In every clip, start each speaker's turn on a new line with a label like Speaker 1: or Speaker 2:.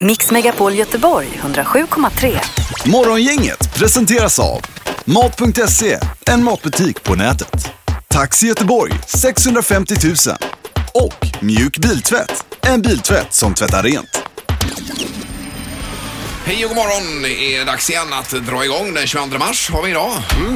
Speaker 1: Mix Megapol Göteborg 107,3.
Speaker 2: Morgongänget presenteras av Mat.se, en matbutik på nätet. Taxi Göteborg 650 000. Och Mjuk Biltvätt, en biltvätt som tvättar rent.
Speaker 3: Hej och god morgon! Det är dags igen att dra igång. Den 22 mars har vi idag.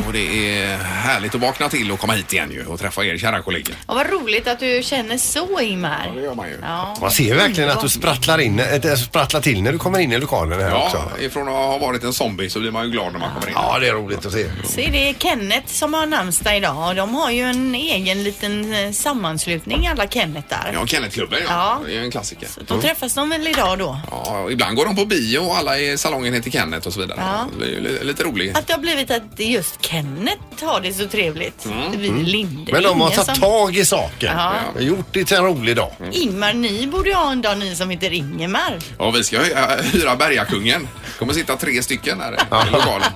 Speaker 3: Och det är härligt att vakna till och komma hit igen ju och träffa er kära kollegor.
Speaker 4: Och vad roligt att du känner så Ingmar.
Speaker 3: Det gör man ju.
Speaker 4: Ja.
Speaker 5: Man ser ju verkligen att du sprattlar, in, äh, sprattlar till när du kommer in i lokalen här
Speaker 3: Ja,
Speaker 5: också.
Speaker 3: ifrån att ha varit en zombie så blir man ju glad när man kommer in.
Speaker 5: Ja, det är roligt att se.
Speaker 4: Se, det är Kenneth som har namnsdag idag och de har ju en egen liten eh, sammanslutning alla Kennetar.
Speaker 3: Ja, Kennetklubben ja.
Speaker 4: Ja.
Speaker 3: Det är ju en klassiker.
Speaker 4: Då träffas de väl idag då?
Speaker 3: Ja, och ibland går de på bio och alla i salongen heter Kenneth och så vidare.
Speaker 4: Ja.
Speaker 3: Det är ju li- lite roligt.
Speaker 4: Att det har blivit att det är just Kenneth har det så trevligt. Det blir Linde.
Speaker 5: Men de har
Speaker 4: Ingen
Speaker 5: tagit
Speaker 4: som-
Speaker 5: tag i saken.
Speaker 4: Ja.
Speaker 5: Gjort det till en rolig dag.
Speaker 4: Ingmar, ni borde ju ha en dag ni som heter Ingemar.
Speaker 3: Ja, vi ska hy- äh, hyra Bergakungen. kommer sitta tre stycken här i lokalen.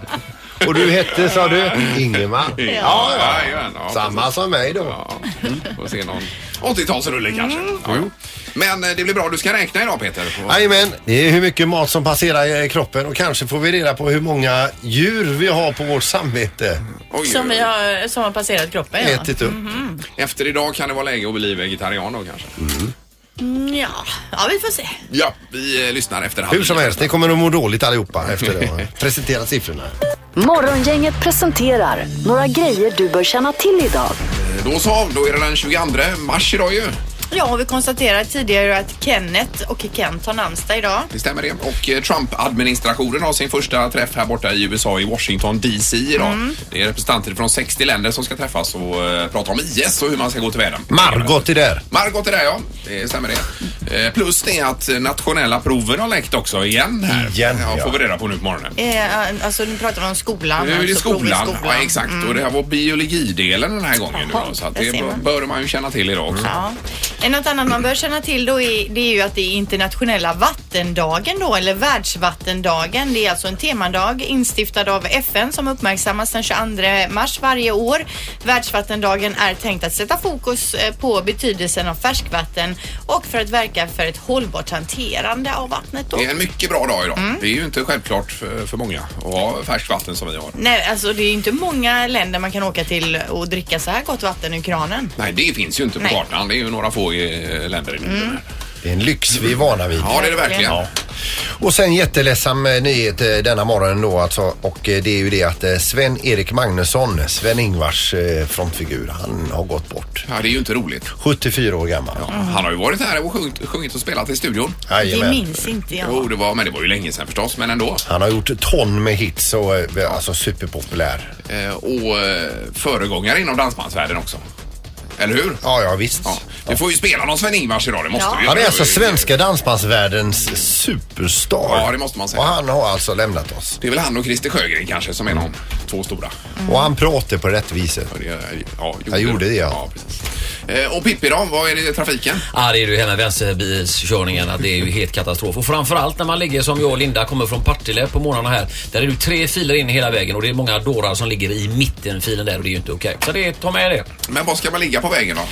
Speaker 5: Och du hette, sa du, Ingemar?
Speaker 3: Ja, jajamän. ja,
Speaker 5: Samma som mig då.
Speaker 3: Ja, får se någon 80-talsrulle kanske.
Speaker 5: Mm.
Speaker 3: Ja, ja. Men eh, det blir bra. Du ska räkna idag Peter. På-
Speaker 5: Jajamän, det är hur mycket mat som passerar i kroppen och kanske får vi reda på hur många djur vi har på vårt samvete.
Speaker 3: Oj,
Speaker 4: Som, vi har, som har passerat kroppen ja. Mhm.
Speaker 5: Ätit upp.
Speaker 3: Efter idag kan det vara läge att bli vegetarian då kanske.
Speaker 4: Mm, ja. ja, vi får se.
Speaker 3: Ja, vi eh, lyssnar efter halv
Speaker 5: Hur som
Speaker 3: nio.
Speaker 5: helst, ni kommer att må dåligt allihopa efter det. har Presenterat siffrorna.
Speaker 1: Morgongänget presenterar några grejer du bör känna till idag.
Speaker 3: Eh, Då så, då är det den 22 mars idag ju.
Speaker 4: Ja, och vi konstaterade tidigare att Kenneth och Kent har namnsdag idag.
Speaker 3: Det stämmer det. Och eh, Trump-administrationen har sin första träff här borta i USA i Washington DC idag.
Speaker 5: Mm.
Speaker 3: Det är representanter från 60 länder som ska träffas och eh, prata om IS och hur man ska gå till världen.
Speaker 5: Margot är där.
Speaker 3: Margot är där ja, det stämmer det. Eh, Plus det är att nationella proven har läckt också igen här.
Speaker 5: Igen,
Speaker 3: ja.
Speaker 5: ja.
Speaker 3: Får vi reda på nu på morgonen.
Speaker 4: Eh, alltså nu pratar vi om skolan.
Speaker 3: Nu är det
Speaker 4: alltså prov i Mm.
Speaker 3: skolan, ja exakt. Och det här var biologidelen den här gången. Nu då,
Speaker 4: Jaha,
Speaker 3: så att
Speaker 4: där
Speaker 3: det
Speaker 4: ser man.
Speaker 3: bör man ju känna till idag också.
Speaker 4: Ja. Eh, Något annat man bör känna till då är, det är ju att det är internationella vattendagen då, eller världsvattendagen. Det är alltså en temadag instiftad av FN som uppmärksammas den 22 mars varje år. Världsvattendagen är tänkt att sätta fokus eh, på betydelsen av färskvatten och för att verka för ett hållbart hanterande av vattnet då.
Speaker 3: Det är en mycket bra dag idag.
Speaker 4: Mm.
Speaker 3: Det är ju inte självklart för, för många att ha färskt vatten som vi har.
Speaker 4: Nej, alltså det är ju inte många länder man kan åka till och dricka så här gott vatten ur kranen.
Speaker 3: Nej, det finns ju inte på
Speaker 4: Nej.
Speaker 3: kartan. Det är ju några få eh, länder i mm.
Speaker 5: Det är en lyx vi är vana vid.
Speaker 3: Ja, det är det verkligen.
Speaker 4: Ja.
Speaker 5: Och sen jätteledsam eh, nyhet eh, denna morgon då alltså och eh, det är ju det att eh, Sven-Erik Magnusson, Sven-Ingvars eh, frontfigur, han har gått bort.
Speaker 3: Ja, det är ju inte roligt.
Speaker 5: 74 år gammal.
Speaker 4: Mm.
Speaker 3: Han har ju varit här och sjungit, sjungit och spelat i studion.
Speaker 5: Jajamän.
Speaker 4: Det minns inte jag.
Speaker 3: Jo, det var, men det var ju länge sedan förstås, men ändå.
Speaker 5: Han har gjort ton med hits och eh, alltså superpopulär.
Speaker 3: Eh, och eh, föregångare inom dansbandsvärlden också. Eller hur?
Speaker 5: Ja, ja visst.
Speaker 3: Ja. Vi får ju spela någon Sven-Ingvars idag, det måste
Speaker 4: Ja.
Speaker 3: vi ju.
Speaker 5: Han är alltså svenska dansbandsvärldens superstar.
Speaker 3: Ja, det måste man säga.
Speaker 5: Och han har alltså lämnat oss.
Speaker 3: Det är väl han och Christer Sjögren kanske som är de två stora.
Speaker 5: Och han pratar på rätt viset.
Speaker 3: Ja, det- Ja,
Speaker 5: Jag gjorde det, ja.
Speaker 3: precis. Eh, Och Pippi då, vad är det i trafiken?
Speaker 6: Ja, det är ju hela vänsterbilskörningen. att Det är ju helt katastrof. Och framförallt när man ligger som jag och Linda kommer från Partille på morgnarna här. Där är det ju tre filer in hela vägen och det är många dårar som ligger i mitten filen där och det är ju inte okej. Så det, ta med det.
Speaker 3: Men var ska man ligga på vägen då?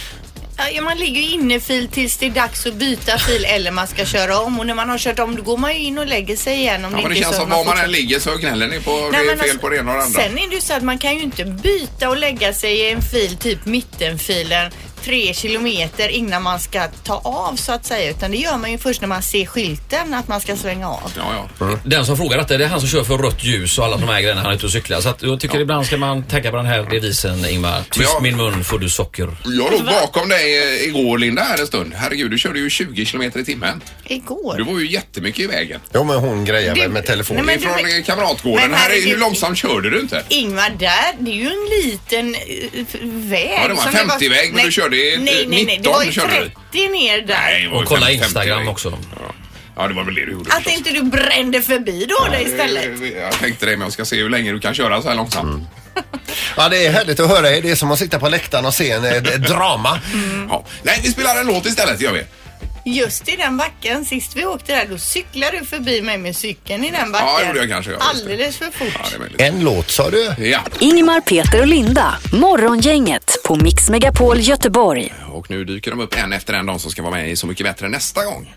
Speaker 4: Ja, man ligger ju innefil tills det är dags att byta fil eller man ska köra om och när man har kört om då går man ju in och lägger sig igen om
Speaker 3: Ja, men det
Speaker 4: inte är
Speaker 3: känns
Speaker 4: så
Speaker 3: som
Speaker 4: att
Speaker 3: var man
Speaker 4: fortsätter-
Speaker 3: än ligger så gnäller ni på det
Speaker 4: Nej,
Speaker 3: är
Speaker 4: men
Speaker 3: fel
Speaker 4: alltså,
Speaker 3: på det ena och det andra.
Speaker 4: Sen är det ju så att man kan ju inte byta och lägga sig i en fil, typ mittenfilen, tre kilometer innan man ska ta av så att säga. Utan det gör man ju först när man ser skylten att man ska svänga av.
Speaker 3: Ja, ja.
Speaker 6: Den som frågar detta, det är han som kör för rött ljus och alla de här grejerna. Han är ute och cyklar. Så att jag tycker ibland ska man tänka på den här devisen Ingmar. Tyst
Speaker 3: Ja.
Speaker 6: min mun får du socker.
Speaker 3: Jag
Speaker 4: Alltså,
Speaker 3: låg bakom dig eh, igår Linda här en stund. Herregud, du körde ju 20 kilometer i timmen.
Speaker 4: Igår.
Speaker 3: Du var ju jättemycket i vägen.
Speaker 5: Jo, men hon grejer
Speaker 4: Du-
Speaker 5: väl med telefonen.
Speaker 4: Nej, men du-
Speaker 3: Ifrån eh, kamratgården.
Speaker 4: Men
Speaker 3: Här är, hur
Speaker 4: herregud.
Speaker 3: långsamt körde du inte?
Speaker 4: Ingvar, där, det är ju en liten eh, f- väg.
Speaker 3: Ja, det var en
Speaker 4: som bara-
Speaker 3: 50-väg, men
Speaker 4: Nej,
Speaker 3: du körde i-
Speaker 4: Nej, nej, nej. Det
Speaker 3: 19
Speaker 4: var ju
Speaker 3: körde du.
Speaker 4: 30 ner där.
Speaker 3: Nej, det var ju
Speaker 6: Och kolla
Speaker 3: 50.
Speaker 6: Instagram också.
Speaker 3: Ja. ja, det var väl det du gjorde
Speaker 4: Att
Speaker 3: förstås. Eh,
Speaker 4: inte du brände förbi då det istället.
Speaker 3: Jag tänkte det, men jag ska se hur länge du kan köra så här långsamt.
Speaker 5: Ja, det är härligt att höra
Speaker 3: Mm.
Speaker 5: er. Det är som att sitta på läktaren och se en eh, drama.
Speaker 3: Ja. Nej, vi spelar en låt istället, gör vi.
Speaker 4: Just i den backen, sist vi åkte där, då cyklade du förbi mig med cykeln i den backen.
Speaker 3: Ja, det gjorde jag kanske, ja, just det.
Speaker 4: Alldeles för fort.
Speaker 3: Ja, det är möjligt.
Speaker 5: En låt sa du?
Speaker 3: Ja,
Speaker 1: Ingmar, Peter och Linda. Morgongänget på Mix Megapol Göteborg.
Speaker 3: och nu dyker de upp en efter en de som ska vara med i Så mycket bättre nästa gång.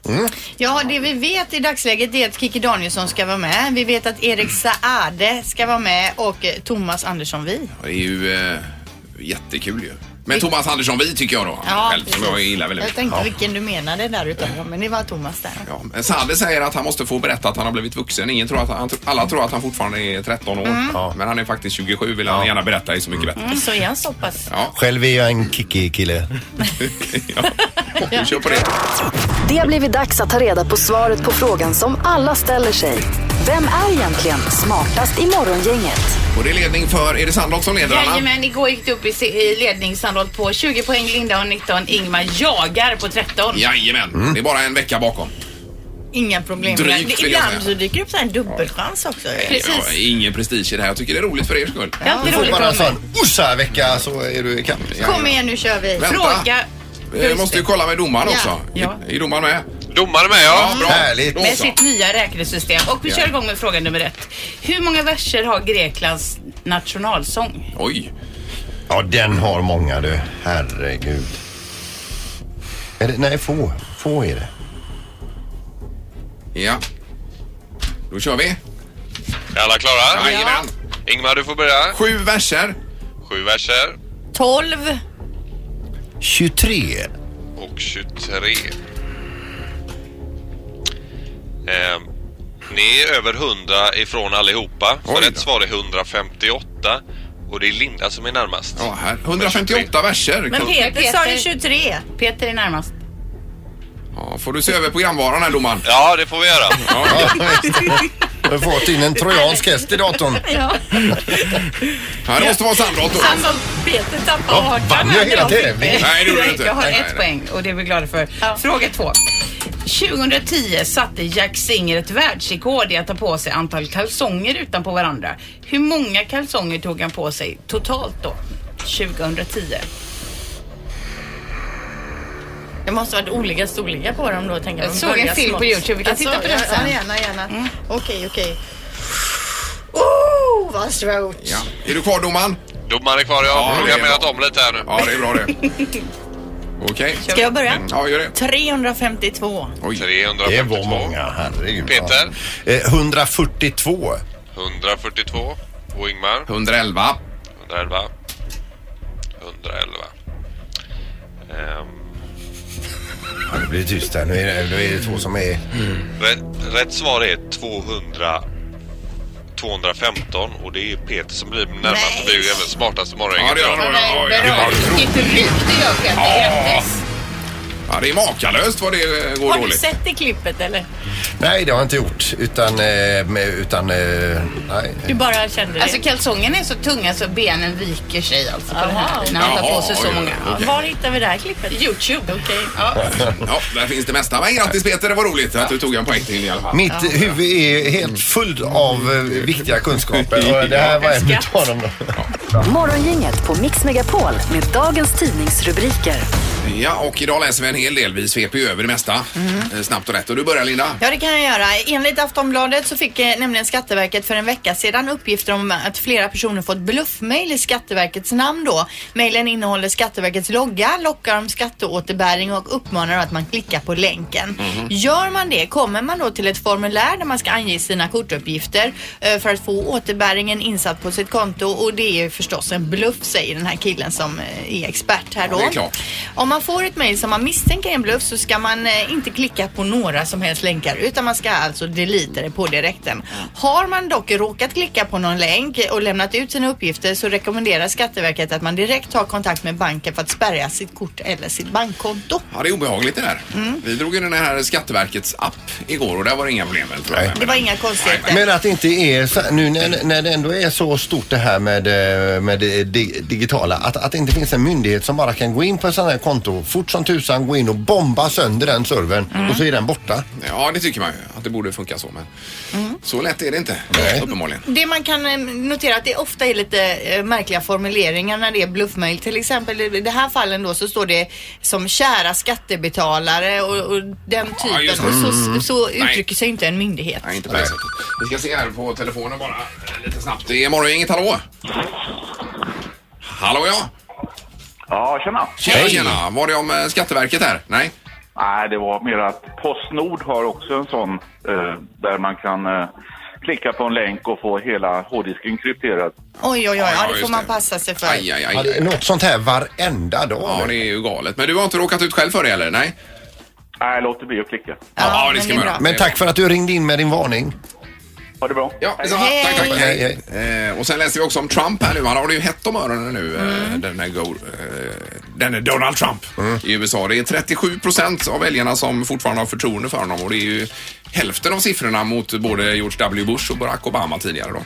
Speaker 4: Ja, det vi vet i dagsläget är att Kikki Danielsson ska vara med. Vi vet att Erik Saade ska vara med och eh, Thomas Andersson Vi.
Speaker 3: Ja, Det är ju eh, jättekul ju. Men Thomas Andersson vi tycker jag då.
Speaker 4: Ja,
Speaker 3: själv, som
Speaker 4: precis.
Speaker 3: jag gillar väldigt
Speaker 4: Jag
Speaker 3: mycket.
Speaker 4: tänkte vilken du menade där utav men det var Thomas där.
Speaker 3: Ja, men Sade säger att han måste få berätta att han har blivit vuxen. Ingen tror att han, alla tror att han fortfarande är 13 år. Ja, Men han är faktiskt 27 vill han gärna berätta i Så mycket bättre.
Speaker 4: Mm, så är han så pass.
Speaker 5: Själv är jag en kickig kille.
Speaker 3: ja. Vi kör på det.
Speaker 1: Det har blivit dags att ta reda på svaret på frågan som alla ställer sig. Vem är egentligen smartast i morgongänget?
Speaker 3: Och det är ledning för, är det Sandholt som leder Anna?
Speaker 7: Jajamän, igår gick det upp i, se- i ledning Sandholt på 20 poäng, Linda har 19, Ingmar jagar på 13.
Speaker 3: Jajamän,
Speaker 8: Mm.
Speaker 3: det är bara en vecka bakom.
Speaker 4: Inga problem.
Speaker 3: Drygt,
Speaker 4: Men
Speaker 3: vill jag säga.
Speaker 4: Ibland så dyker det upp så här en dubbelchans också.
Speaker 7: Precis.
Speaker 3: Ja, ingen prestige i det här. Jag tycker det är roligt för er skull.
Speaker 7: Det är alltid
Speaker 5: Du får
Speaker 7: roligt
Speaker 5: bara en
Speaker 7: för mig.
Speaker 5: sån Orsa-vecka så är du i kapp.
Speaker 4: Kom igen nu kör vi.
Speaker 3: Vänta.
Speaker 7: Fråga.
Speaker 3: Jag Eh, måste ju kolla med domaren
Speaker 4: Ja.
Speaker 3: också.
Speaker 7: Ja.
Speaker 3: Är är domaren med?
Speaker 8: Domare med ja.
Speaker 3: Ja, bra.
Speaker 5: Härligt.
Speaker 3: Då
Speaker 7: Med
Speaker 3: så.
Speaker 7: sitt nya räknesystem. Och vi kör igång med fråga nummer ett. Hur många verser har Greklands nationalsång?
Speaker 3: Oj.
Speaker 5: Ja, den har många du. Herregud. Är det, nej, få. Få är det.
Speaker 3: Ja. Då kör vi.
Speaker 8: Är alla klara?
Speaker 3: Jajamän.
Speaker 8: Ingmar du får börja.
Speaker 3: Sju verser.
Speaker 8: Sju verser
Speaker 4: 12,
Speaker 5: 23.
Speaker 8: och 23. Ehm, ni är över 100 ifrån allihopa.
Speaker 3: Oj
Speaker 8: För
Speaker 3: då.
Speaker 8: rätt svar är 158. Och det är Linda som är närmast.
Speaker 3: Ja, här. 158 verser.
Speaker 4: men Peter sa ju 23.
Speaker 7: Peter är närmast.
Speaker 3: Ja, får du se över programvaran här domaren.
Speaker 8: Ja, det får vi göra.
Speaker 3: Ja.
Speaker 5: Jag har fått in en trojansk häst i datorn.
Speaker 3: Ja, det måste vara samråd då.
Speaker 7: Alltså, Peter tappade
Speaker 5: Ja,
Speaker 7: 18.
Speaker 5: vann jag hela tävlingen?
Speaker 3: Nej, det gjorde du inte.
Speaker 7: Jag har
Speaker 3: Nej,
Speaker 7: ett
Speaker 3: nej.
Speaker 7: poäng och det är vi glada för. Fråga två. 2010 satte Jack Singer ett världsrekord i att ta på sig antal kalsonger utanpå varandra. Hur många kalsonger tog han på sig totalt då? 2010.
Speaker 4: Det måste varit olika storlekar på dem då tänker jag.
Speaker 7: Jag
Speaker 4: De
Speaker 7: såg en
Speaker 4: börjar
Speaker 7: film
Speaker 4: smått. Alltså,
Speaker 7: på Youtube. Vi kan titta på den
Speaker 4: ja,
Speaker 7: sen.
Speaker 4: Ja, gärna, gärna. Okej, okej. Oh, vad svårt.
Speaker 3: Ja. Är du kvar domaren?
Speaker 8: Domaren är kvar. Jag
Speaker 3: Ja,
Speaker 8: har
Speaker 3: det är
Speaker 8: programmerat
Speaker 3: bra.
Speaker 8: om lite här nu.
Speaker 3: Ja, det är bra det. Okej. Mm,
Speaker 4: Ska jag börja?
Speaker 3: Ja, gör det.
Speaker 4: 352.
Speaker 3: Oj.
Speaker 8: 352.
Speaker 5: Det var många, herregud.
Speaker 8: Peter?
Speaker 5: Eh, 142.
Speaker 8: 142. Och Ingmar?
Speaker 3: 111.
Speaker 8: 111. 111. Ehm,
Speaker 5: Ja, det blir tyst här. Nu är det, nu är det två som är...
Speaker 8: Rätt, rätt svar är 200 215 och det är Peter som blir närmast och blir ju även smartast i morgon.
Speaker 3: Ja, det gör han. Oj, oj,
Speaker 7: Bra.
Speaker 3: oj.
Speaker 7: Vilket ryck det gör Peter. Grattis!
Speaker 3: Ja, det är makalöst vad det eh, går
Speaker 4: Har du
Speaker 3: dåligt.
Speaker 4: sett det klippet eller?
Speaker 5: Nej, det har jag inte gjort. Utan... eh, med- utan eh, nej.
Speaker 4: Du bara kände det?
Speaker 7: Alltså kalsongerna är så tunga så benen viker sig alltså på
Speaker 4: Jaha.
Speaker 7: den här när han tar på sig
Speaker 3: Jaha,
Speaker 7: så
Speaker 3: oj, oj,
Speaker 7: många.
Speaker 3: oj.
Speaker 4: Var hittar vi det här klippet?
Speaker 7: Youtube. Ja.
Speaker 3: Ja, där finns det mesta. Men grattis Peter, det var roligt att du tog en poäng till i alla fall.
Speaker 5: Mitt huvud är helt fullt av eh, viktiga kunskaper. Och det här var en utav dem.
Speaker 1: Morgongänget på Mix Megapol med dagens tidningsrubriker.
Speaker 3: Ja, och idag läser vi en hel del. Vi sveper ju över det mesta eh, snabbt och rätt. Och du börjar Linda.
Speaker 4: Ja, det kan jag göra. Enligt Aftonbladet så fick eh, nämligen Skatteverket för en vecka sedan uppgifter om att flera personer fått bluffmail i Skatteverkets namn då. Mailen innehåller Skatteverkets logga, lockar om skatteåterbäring och uppmanar att man klickar på länken.
Speaker 3: Mhm.
Speaker 4: Gör man det kommer man då till ett formulär där man ska ange sina kortuppgifter eh, för att få återbäringen insatt på sitt konto och det är ju förstås en bluff säger den här killen som eh, är expert här då.
Speaker 3: Ja, det är klart.
Speaker 4: Om man får ett mejl som man misstänker är en bluff så ska man eh, inte klicka på några som helst länkar utan man ska alltså delita det på direkten. Har man dock råkat klicka på någon länk och lämnat ut sina uppgifter så rekommenderar Skatteverket att man direkt tar kontakt med banken för att spärra sitt kort eller sitt bankkonto.
Speaker 3: Ja, det är obehagligt det där. Vi drog ju den här Skatteverkets app igår och där var det inga problem. väl, Tror jag.
Speaker 4: Det var inga konstigheter.
Speaker 5: Men att det inte är så, nu när, när det ändå är så stort det här med, eh, med det di, digitala, att, att det inte finns en myndighet som bara kan gå in på ett sånt här konto konto. Fort som tusan gå in och bomba sönder den servern och så är den borta.
Speaker 3: Ja, det tycker man ju. Att det borde funka så. Men så lätt är det inte. Uppenbarligen.
Speaker 4: Det man kan eh, notera att det ofta är lite eh, märkliga formuleringar när det är bluffmail. Till exempel i det här fallen då så står det som kära skattebetalare och, och den typen.
Speaker 3: just det. Mm.
Speaker 4: och så, så
Speaker 3: Nej.
Speaker 4: uttrycker sig inte en myndighet.
Speaker 3: Nej, inte på det sättet. Vi ska se här på telefonen bara eh, lite snabbt. Det är morgongänget, hallå? Hallå ja!
Speaker 9: Ja, tjena.
Speaker 3: Tjena, tjena! Var det om eh, Skatteverket här? Nej?
Speaker 9: Nej, det var mer att Postnord har också en sån eh, där man kan eh, klicka på en länk och få hela hårddisken krypterad.
Speaker 4: Oj, oj, oj.
Speaker 3: Ja,
Speaker 4: Ja, det
Speaker 3: just
Speaker 4: får man
Speaker 3: det.
Speaker 4: passa sig för.
Speaker 3: Aj, aj, aj.
Speaker 5: Ja, det är Något sånt här varenda dag.
Speaker 3: Ja, det är ju galet. Men du har inte råkat ut själv för det eller? Nej?
Speaker 9: Nej, låt det bli att klicka.
Speaker 3: Ja, det
Speaker 4: men
Speaker 3: ska
Speaker 4: är
Speaker 3: man
Speaker 4: bra.
Speaker 3: göra.
Speaker 5: Men tack för att du ringde in med din varning.
Speaker 9: Ha det bra.
Speaker 3: Ja, detsamma.
Speaker 4: Hej.
Speaker 3: Tack, tack.
Speaker 5: Hej,
Speaker 3: Hej. Eh, och sen läste vi också om Trump här nu. Han har det ju hett om öronen nu, eh, den, här go, eh, den här Donald Trump i USA. Det är 37 procent av väljarna som fortfarande har förtroende för honom och det är ju hälften av siffrorna mot både George W Bush och Barack Obama tidigare då.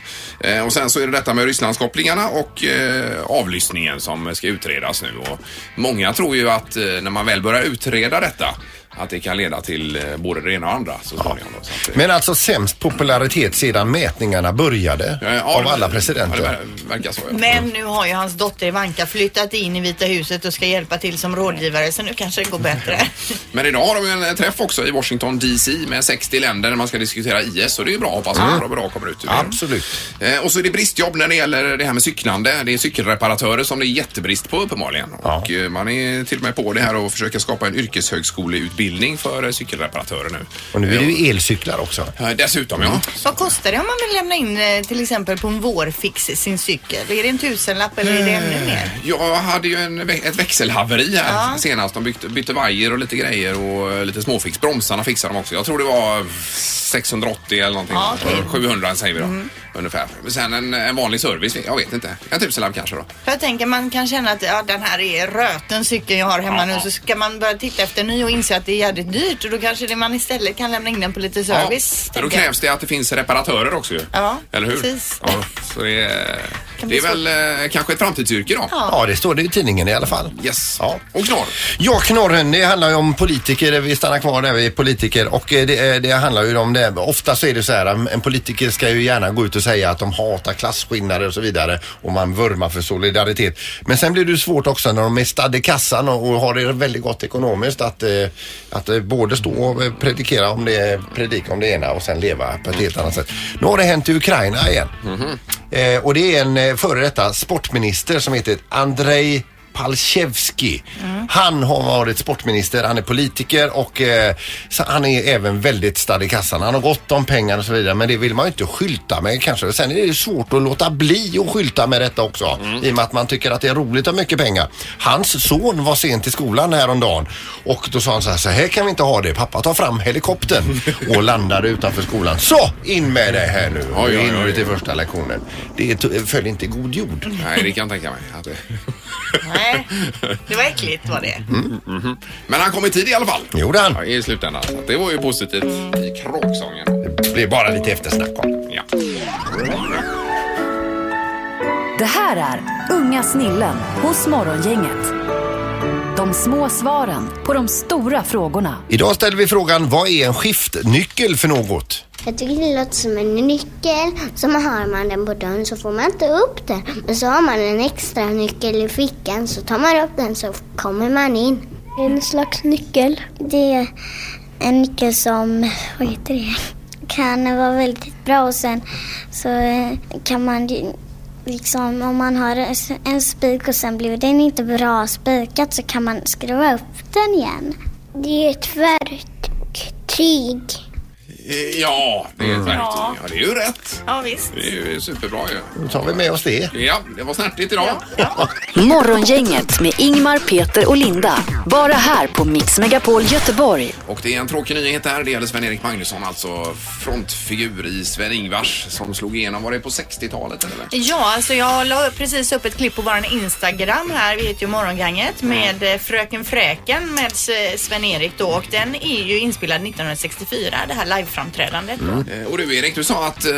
Speaker 3: Eh, och sen så är det detta med Rysslandskopplingarna och eh, avlyssningen som ska utredas nu. Och många tror ju att eh, när man väl börjar utreda detta att det kan leda till eh, både det ena och andra så småningom. Då, så att, eh,
Speaker 5: Men alltså sämst popularitet sedan mätningarna började
Speaker 3: Eh, Ja, ja,
Speaker 5: av
Speaker 3: det-
Speaker 5: alla
Speaker 3: Ja,
Speaker 5: presidenter.
Speaker 3: det ver- verkar så. Ja.
Speaker 4: Men nu har ju hans dotter Ivanka flyttat in i Vita huset och ska hjälpa till som rådgivare så nu kanske det går bättre.
Speaker 3: Men idag har de ju en eh, träff också i Washington DC med 60 länder där man ska diskutera IS så det är ju bra. Hoppas att några bra kommer ut ur det.
Speaker 5: Mm. Absolut.
Speaker 3: Eh, Och så är det bristjobb när det gäller det här med cyklande. Det är cykelreparatörer som det är jättebrist på uppenbarligen. Och eh, man är till och med på det här och försöker skapa en yrkeshögskoleutbildning för eh, cykelreparatörer nu.
Speaker 5: Och nu är det ju Mm. elcyklar också.
Speaker 3: Eh, Dessutom ja.
Speaker 4: Vad kostar det om man vill lämna in eh, till exempel på en vårfix sin cykel? Är det en tusenlapp eller är det
Speaker 3: Mm.
Speaker 4: ännu mer?
Speaker 3: Jag hade ju en, vä- ett växelhaveri här senast. De bytte, bytte vajer och lite grejer och eh, lite småfix. Bromsarna fixade de också. Jag tror det var 680 eller någonting.
Speaker 4: Ja, okej. Mm.
Speaker 3: 700 säger vi då. Ungefär. Men sen en, en vanlig service. Jag vet inte. En tusenlapp kanske då.
Speaker 4: För jag tänker man kan känna att ja, den här är röten cykeln jag har hemma nu så ska man börja titta efter en ny och inse att det är jävligt dyrt och då kanske det man istället kan lämna in den på lite service.
Speaker 3: men då
Speaker 4: tänker jag.
Speaker 3: krävs det att det finns reparatörer också ju.
Speaker 4: Ja,
Speaker 3: Eller hur?
Speaker 4: precis.
Speaker 3: Ja, så det är,
Speaker 4: Kan
Speaker 3: det
Speaker 4: bli
Speaker 3: är väl eh, kanske ett framtidsyrke då.
Speaker 5: Ja, det står det i tidningen i alla fall.
Speaker 3: Yes.
Speaker 5: Ja.
Speaker 3: Och knorr.
Speaker 5: Ja, knorren, det handlar ju om politiker. Vi stannar kvar där vi är politiker och eh, det, eh, det handlar ju om det. Ofta så är det så här, um, en en politiker ska ju gärna gå ut och säga att de hatar klasskillnader och så vidare och man vurmar för solidaritet. Men sen blir det ju svårt också när de är stadd i kassan och, och har det väldigt gott ekonomiskt att, eh, att eh, både stå och eh, predikera om det, predika om det ena och sen leva på ett helt annat sätt. Nu har det hänt i Ukraina igen. Eh, och det är en eh, före detta sportminister som heter Andrei Palchevski. Han har varit sportminister, han är politiker och eh, så han är även väldigt stadd i kassan. Han har gott om pengar och så vidare men det vill man ju inte skylta med kanske. Sen är det ju svårt att låta bli att skylta med detta också i och med att man tycker att det är roligt att ha mycket pengar. Hans son var sent till skolan häromdagen och då sa han så här, så här kan vi inte ha det. Pappa tar fram helikoptern och landade utanför skolan. Så in med det här nu.
Speaker 3: Oj,
Speaker 5: Nu är
Speaker 3: oj,
Speaker 5: du
Speaker 3: oj.
Speaker 5: till första lektionen. Det är t- föll inte i god jord.
Speaker 3: Nej, det kan jag tänka mig. Att det...
Speaker 4: Nej, det var äckligt var det.
Speaker 3: Men han kom i tid i alla fall.
Speaker 5: Gjorde han.
Speaker 3: Ja, I slutändan. Så att det var ju positivt i kråksången.
Speaker 5: Det blev bara lite eftersnack om.
Speaker 3: Ja.
Speaker 1: Det här är Unga snillen hos Morgongänget. De små svaren på de stora frågorna.
Speaker 5: Idag ställer vi frågan, vad är en skiftnyckel för något?
Speaker 10: Jag tycker det låter som en nyckel. Så man har man den på dörren så får man inte upp den. Men så har man en extra nyckel i fickan så tar man upp den så kommer man in. En slags nyckel? Det är en nyckel som, vad heter det, kan vara väldigt bra och sen så eh, kan man ju- liksom om man har en s- en spik och sen blir den inte bra spikad så kan man skruva upp den igen. Det är ett verktyg.
Speaker 3: Eh, Ja, det är ett verktyg. Ja, det är ju rätt.
Speaker 4: Ja visst.
Speaker 3: Det är ju superbra ju.
Speaker 5: Då tar vi med oss det.
Speaker 3: Ja, det var snärtigt idag.
Speaker 1: Morgongänget med Ingmar, Peter och Linda. Bara här på Mix Megapol Göteborg.
Speaker 3: Och det är en tråkig nyhet här. Det gäller Sven-Erik Magnusson, alltså frontfigur i Sven-Ingvars som slog igenom, var det på 60-talet eller?
Speaker 4: Ja, alltså jag la precis upp ett klipp på våran Instagram här, vi heter ju Morgonganget,
Speaker 3: Mm.
Speaker 4: med eh, Fröken Fräken med S- Sven-Erik då och den är ju inspelad 1964, det här live framträdandet. då.
Speaker 3: Eh, Och du Erik, du sa att eh,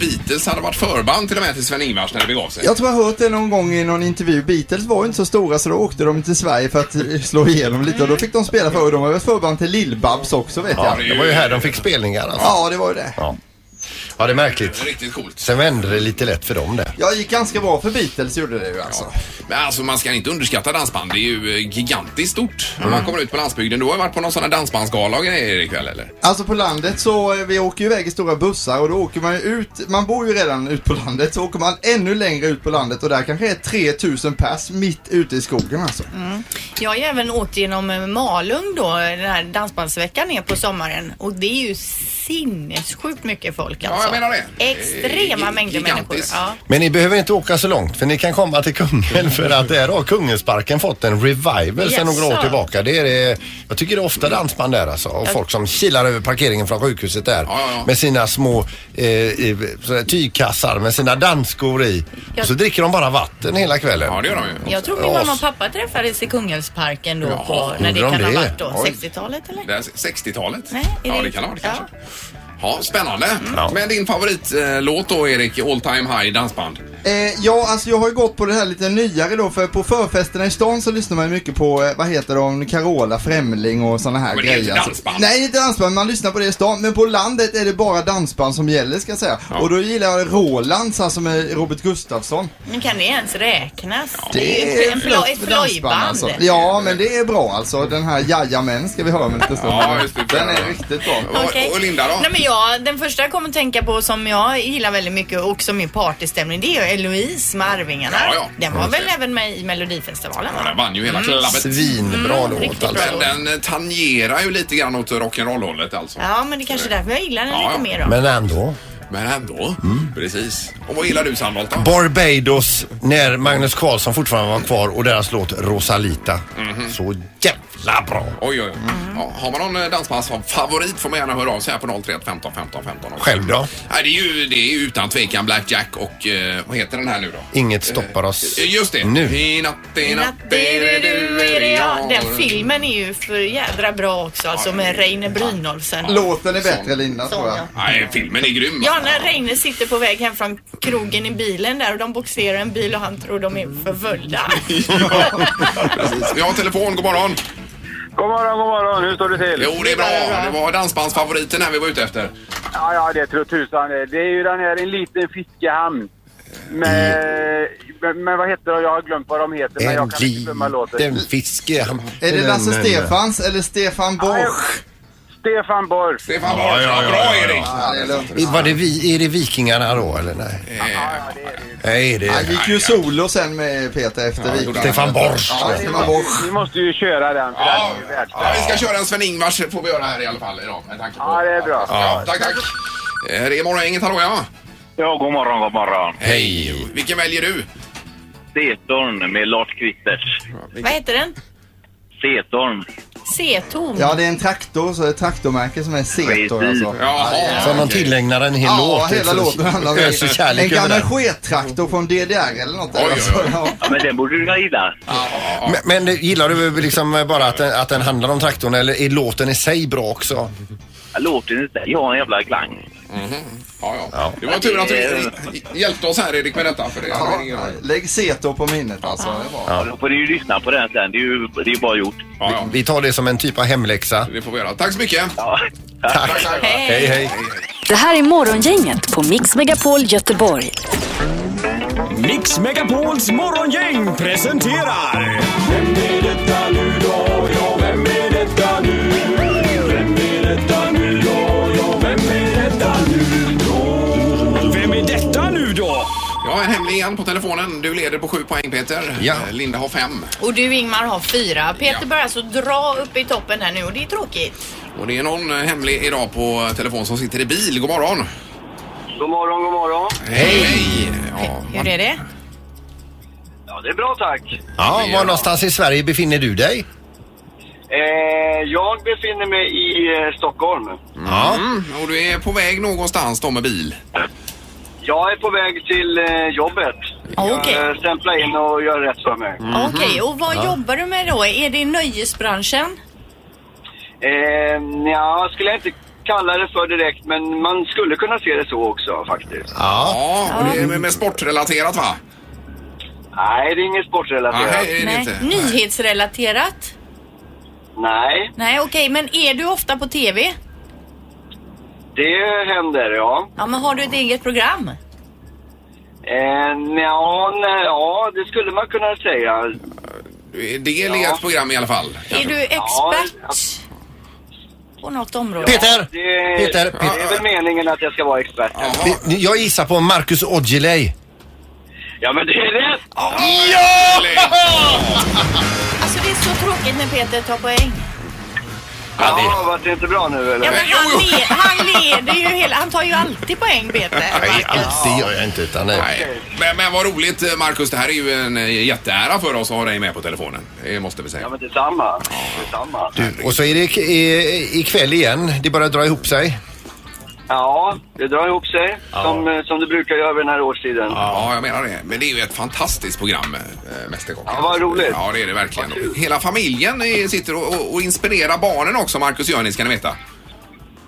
Speaker 3: Beatles hade varit förband till och med till Sven-Ingvars när det begav sig.
Speaker 11: Jag tror jag har hört det någon gång i någon intervju. Beatles var ju inte så stora så då åkte de till Sverige för att eh, slå igenom lite och då fick de spela för och de var väl förband till Lill-Babs också vet
Speaker 5: Ja,
Speaker 11: jag.
Speaker 5: det var ju här de fick spelningar alltså.
Speaker 11: Ja, det var ju det.
Speaker 5: Ja, ja det är märkligt.
Speaker 3: Riktigt coolt.
Speaker 5: Sen vände det lite lätt för dem där.
Speaker 11: Jag gick ganska bra för Beatles gjorde det ju alltså.
Speaker 3: Men alltså man ska inte underskatta dansband. Det är ju eh, gigantiskt stort. Om man kommer ut på landsbygden. Du har ju varit på någon sån här dansbandsgala och grejer Erik väl eller?
Speaker 11: Alltså på landet så, eh, vi åker ju iväg i stora bussar och då åker man ju ut, man bor ju redan ut på landet, så åker man ännu längre ut på landet och där kanske är 3000 pers mitt ute i skogen alltså.
Speaker 4: Jag har ju även åkt genom eh, Malung då, den här dansbandsveckan ner på sommaren och det är ju sinnessjukt mycket folk
Speaker 3: Ja,
Speaker 4: alltså.
Speaker 3: jag menar det.
Speaker 4: Extrema
Speaker 3: Eh,
Speaker 4: mängder
Speaker 3: gigantiskt.
Speaker 4: människor. Ja.
Speaker 5: Men ni behöver inte åka så långt för ni kan komma till Kungälv för att där har Kungälvsparken fått en revival sedan några år
Speaker 4: Jaså.
Speaker 5: tillbaka. Det är, det- jag tycker det är ofta dansband där alltså och folk som kilar över parkeringen från sjukhuset där
Speaker 3: Ja, ja, ja.
Speaker 5: med sina små eh, i- sådär tygkassar med sina dansskor i.
Speaker 4: Ja.
Speaker 5: Och så dricker de bara vatten hela kvällen.
Speaker 3: Ja, det gör de ju.
Speaker 4: Jag tror min
Speaker 5: Ja,
Speaker 4: mamma
Speaker 5: s-
Speaker 4: och pappa träffades i Kungälvsparken då
Speaker 3: Jaha,
Speaker 4: på, när det
Speaker 5: undrar om
Speaker 4: kan ha
Speaker 5: det är.
Speaker 4: varit då,
Speaker 3: Oj.
Speaker 4: 60-talet eller?
Speaker 3: Det här 60-talet?
Speaker 4: Nej, är
Speaker 3: ja,
Speaker 4: det-
Speaker 3: det kan det ha varit
Speaker 4: ja.
Speaker 3: kanske. Ja, spännande.
Speaker 11: Mm.
Speaker 5: Ja.
Speaker 3: Men din favoritlåt då Erik, All Time High dansband?
Speaker 11: Eh, ja, alltså jag har ju gått på det här lite nyare då, för på förfesterna i stan så lyssnar man ju mycket på, eh, vad heter de, Carola Främling och sådana här
Speaker 3: Men det är
Speaker 11: grejer.
Speaker 3: ju inte
Speaker 11: alltså.
Speaker 3: dansband.
Speaker 11: Nej, det är inte dansband, man lyssnar på det i stan, men på landet är det bara dansband som gäller ska jag säga. Och då gillar jag Rolands, alltså med Robert Gustafsson.
Speaker 4: Men kan det ens räknas?
Speaker 11: Det är
Speaker 4: en
Speaker 11: flott
Speaker 4: flo- ett
Speaker 11: för dansband
Speaker 4: flojband.
Speaker 11: alltså. Ja, men det är bra alltså. Den här Jajamän ska vi höra om en liten stund.
Speaker 3: Ja, just det.
Speaker 11: Den är riktigt bra.
Speaker 3: Och-
Speaker 4: Okej.
Speaker 3: Och Linda då?
Speaker 4: Nej, men jag, den första jag kommer att tänka på som jag gillar väldigt mycket och som är partystämning det är ju Eloise med Arvingarna.
Speaker 3: Ja, ja.
Speaker 4: Den var väl
Speaker 3: Okej.
Speaker 4: även med i Melodifestivalen
Speaker 3: Ja,
Speaker 4: va?
Speaker 3: den vann ju hela
Speaker 11: Mm.
Speaker 3: klabbet.
Speaker 5: Svinbra låt
Speaker 4: riktigt
Speaker 5: alltså.
Speaker 3: Men den eh, tangerar ju lite grann åt rock'n'roll-hållet alltså.
Speaker 4: Ja men det är kanske är därför jag gillar den
Speaker 3: Ja, ja.
Speaker 4: lite mer då.
Speaker 5: Men ändå.
Speaker 3: Men ändå.
Speaker 11: Mm.
Speaker 3: Precis. Och vad gillar du Sandholt då?
Speaker 5: Barbados när Magnus Carlsson fortfarande var kvar och deras låt Rosalita.
Speaker 11: Mhm.
Speaker 5: Så jävla bra.
Speaker 3: Oj, oj, oj.
Speaker 4: Mm.
Speaker 3: Ja, har man någon eh, dansbandsfavorit får man gärna höra av sig här på 031 15 15 15. också.
Speaker 5: Själv då?
Speaker 3: Nej, det är ju det är ju utan tvekan Blackjack och eh, vad heter den här nu då?
Speaker 5: Inget stoppar oss.
Speaker 3: Eh, Just det.
Speaker 5: Nu.
Speaker 3: I natt, i natt,
Speaker 4: Natt är det du, är det jag. Den filmen är ju för jädra bra också alltså med Reine Brynolfsen.
Speaker 11: Låten är bättre Linda tror
Speaker 4: Sån,
Speaker 11: jag.
Speaker 4: ja.
Speaker 3: Nej, filmen är grym.
Speaker 4: Ja, när Reine sitter på väg hem från krogen i bilen där och de boxerar en bil och han tror de är förföljda.
Speaker 3: Precis. Vi har telefon, god morgon.
Speaker 9: God morgon, god morgon. Hur står det till?
Speaker 3: Jo, det är bra. Det var dansbandsfavoriten här vi var ute efter.
Speaker 9: Ja, ja, det tror tusan det. Det är ju den här en liten fiskehamn. Men, men, men vad heter de? Jag har glömt vad de heter, men
Speaker 5: En
Speaker 9: jag kan inte glömma låten.
Speaker 5: liten fiske. Mm.
Speaker 11: Är det Lasse Stefans eller Stefan
Speaker 9: Nej,
Speaker 11: Borsch?
Speaker 9: Stefan Borg.
Speaker 3: Stefan ja, ja, Bra, Erik.
Speaker 11: Ja, det är lugnt.
Speaker 5: I- Var det vi, är det vikingarna då eller nej?
Speaker 11: Eh.
Speaker 5: Nej, det
Speaker 11: Han
Speaker 5: är
Speaker 11: gick ju solo sen med Peter efter
Speaker 3: Eh,
Speaker 11: Vik.
Speaker 5: Stefan Borsch.
Speaker 11: Ja, Stefan Borsch.
Speaker 9: Ni måste ju köra den, för
Speaker 3: Ja,
Speaker 9: den är ju
Speaker 3: ja,
Speaker 9: världsklass.
Speaker 3: vi ska köra en Sven-Ingvars får vi göra här i alla fall idag. Med tanke på
Speaker 9: Ja, det är bra.
Speaker 3: Ja, tack, tack. Eh, Det är morgongänget, hallå ja.
Speaker 9: Ja, god morgon, god morgon.
Speaker 5: Hej.
Speaker 3: Vilken väljer du?
Speaker 9: Setorn med Lars Kristers.
Speaker 4: Vad heter den?
Speaker 9: Setorn.
Speaker 4: C-tom.
Speaker 11: Ja, det är en traktor, så det är ett traktormärke som är Setor alltså.
Speaker 3: Jaha.
Speaker 5: Som de tillägnar en hel
Speaker 11: Ja,
Speaker 5: låt.
Speaker 11: hela låten handlar
Speaker 5: Öser
Speaker 11: om en
Speaker 5: kärlek över
Speaker 11: gammal
Speaker 5: den.
Speaker 11: skettraktor från DDR eller något.
Speaker 3: Oj, oj,
Speaker 11: alltså,
Speaker 3: oj.
Speaker 11: ja.
Speaker 9: Ja, men den borde du gilla.
Speaker 5: Men- Men det- gillar du liksom bara att den, att den handlar om traktorn eller är låten i sig bra också?
Speaker 9: Låten inte. Jag har en jävla klang.
Speaker 3: Ja, ja. Det var tur att du hjälpte oss här Erik med detta. För det hade vi ingen
Speaker 11: Ja,
Speaker 3: aning om.
Speaker 11: lägg Setor på minnet alltså. Det var...
Speaker 9: Ja. Då får ni ju lyssna på den sen. Det är ju det är bara gjort.
Speaker 3: ja, ja.
Speaker 5: Vi tar det som en typ av hemläxa.
Speaker 3: Det får vi göra. Tack så mycket.
Speaker 9: Ja.
Speaker 5: Tack. Hej, hej.
Speaker 1: Det här är Morgongänget på Mix Megapol Göteborg.
Speaker 12: Mix Megapols morgongäng presenterar... Vem är detta nu då? Ja, vem är detta nu? Vem är detta nu då? Ja, vem är detta nu då? Vem är detta nu då?
Speaker 3: Ja, en hemlig igen på telefonen. Du leder på sju poäng Peter.
Speaker 5: Ja.
Speaker 3: Eh, Linda har fem.
Speaker 4: Och du Ingmar har fyra. Peter
Speaker 3: Ja.
Speaker 4: börjar alltså dra upp i toppen här nu och det är tråkigt.
Speaker 3: Och det är någon eh, hemlig idag på eh, telefon som sitter i bil. God morgon.
Speaker 9: God morgon, god morgon.
Speaker 3: Hej. Ja,
Speaker 4: Hur är det?
Speaker 9: Ja, det är bra tack.
Speaker 5: Ja, var någonstans i Sverige befinner du dig?
Speaker 9: Eh, jag befinner mig i eh, Stockholm.
Speaker 5: Ja.
Speaker 3: Mm, och du är på väg någonstans då med bil.
Speaker 9: Jag är på väg till eh, jobbet.
Speaker 4: Ja, okej.
Speaker 9: Jag eh, stämplar in och gör rätt för mig.
Speaker 5: Mm.
Speaker 4: Okej, och vad jobbar du med då? Är det i nöjesbranschen?
Speaker 9: Eh, nja, skulle jag inte
Speaker 13: kalla det för direkt, men man skulle kunna se det så också faktiskt.
Speaker 3: Ja, och det är med- med sportrelaterat va?
Speaker 13: Nej, det är inget sportrelaterat.
Speaker 3: Nej, det är det
Speaker 4: Nej.
Speaker 3: inte.
Speaker 4: Nyhetsrelaterat?
Speaker 13: Nej,
Speaker 4: Nej, okej, men är du ofta på TV?
Speaker 13: det händer, ja.
Speaker 4: Ja, men har du ett eget program?
Speaker 13: Eh, nja, nej, ja, det skulle man kunna säga.
Speaker 3: Det är ett program i alla fall.
Speaker 4: Är du expert på något område?
Speaker 5: Peter!
Speaker 13: Det,
Speaker 5: Peter,
Speaker 13: det är väl meningen att jag ska vara expert.
Speaker 5: Vi- Jag gissar på Marcus Aujalay.
Speaker 13: Ja, men det är rätt!
Speaker 5: Ja!
Speaker 4: Alltså det är så tråkigt när Peter tar poäng.
Speaker 13: Ja, vart det inte bra nu eller?
Speaker 4: Ja, men han, le, han leder ju hela, han tar ju alltid poäng Peter.
Speaker 5: Nej, alltid gör jag inte utan nej.
Speaker 3: Men, men vad roligt eh, Marcus, det här är ju en eh, jätteära för oss att ha dig med på telefonen. Det måste vi säga. Ja,
Speaker 13: men detsamma. detsamma.
Speaker 5: Du, och så är det ik- i- ikväll igen. Det bara drar ihop sig.
Speaker 13: Ja, det drar ihop sig som, eh, som det brukar göra vid den här årstiden.
Speaker 3: Ja, jag menar det. Men det är ju ett fantastiskt program, äh, Mästerkocken.
Speaker 13: Ja, vad roligt.
Speaker 3: Ja, det är det verkligen. Hela familjen eh, sitter och, och, och inspirerar barnen också, Marcus gör ni, ska ni veta.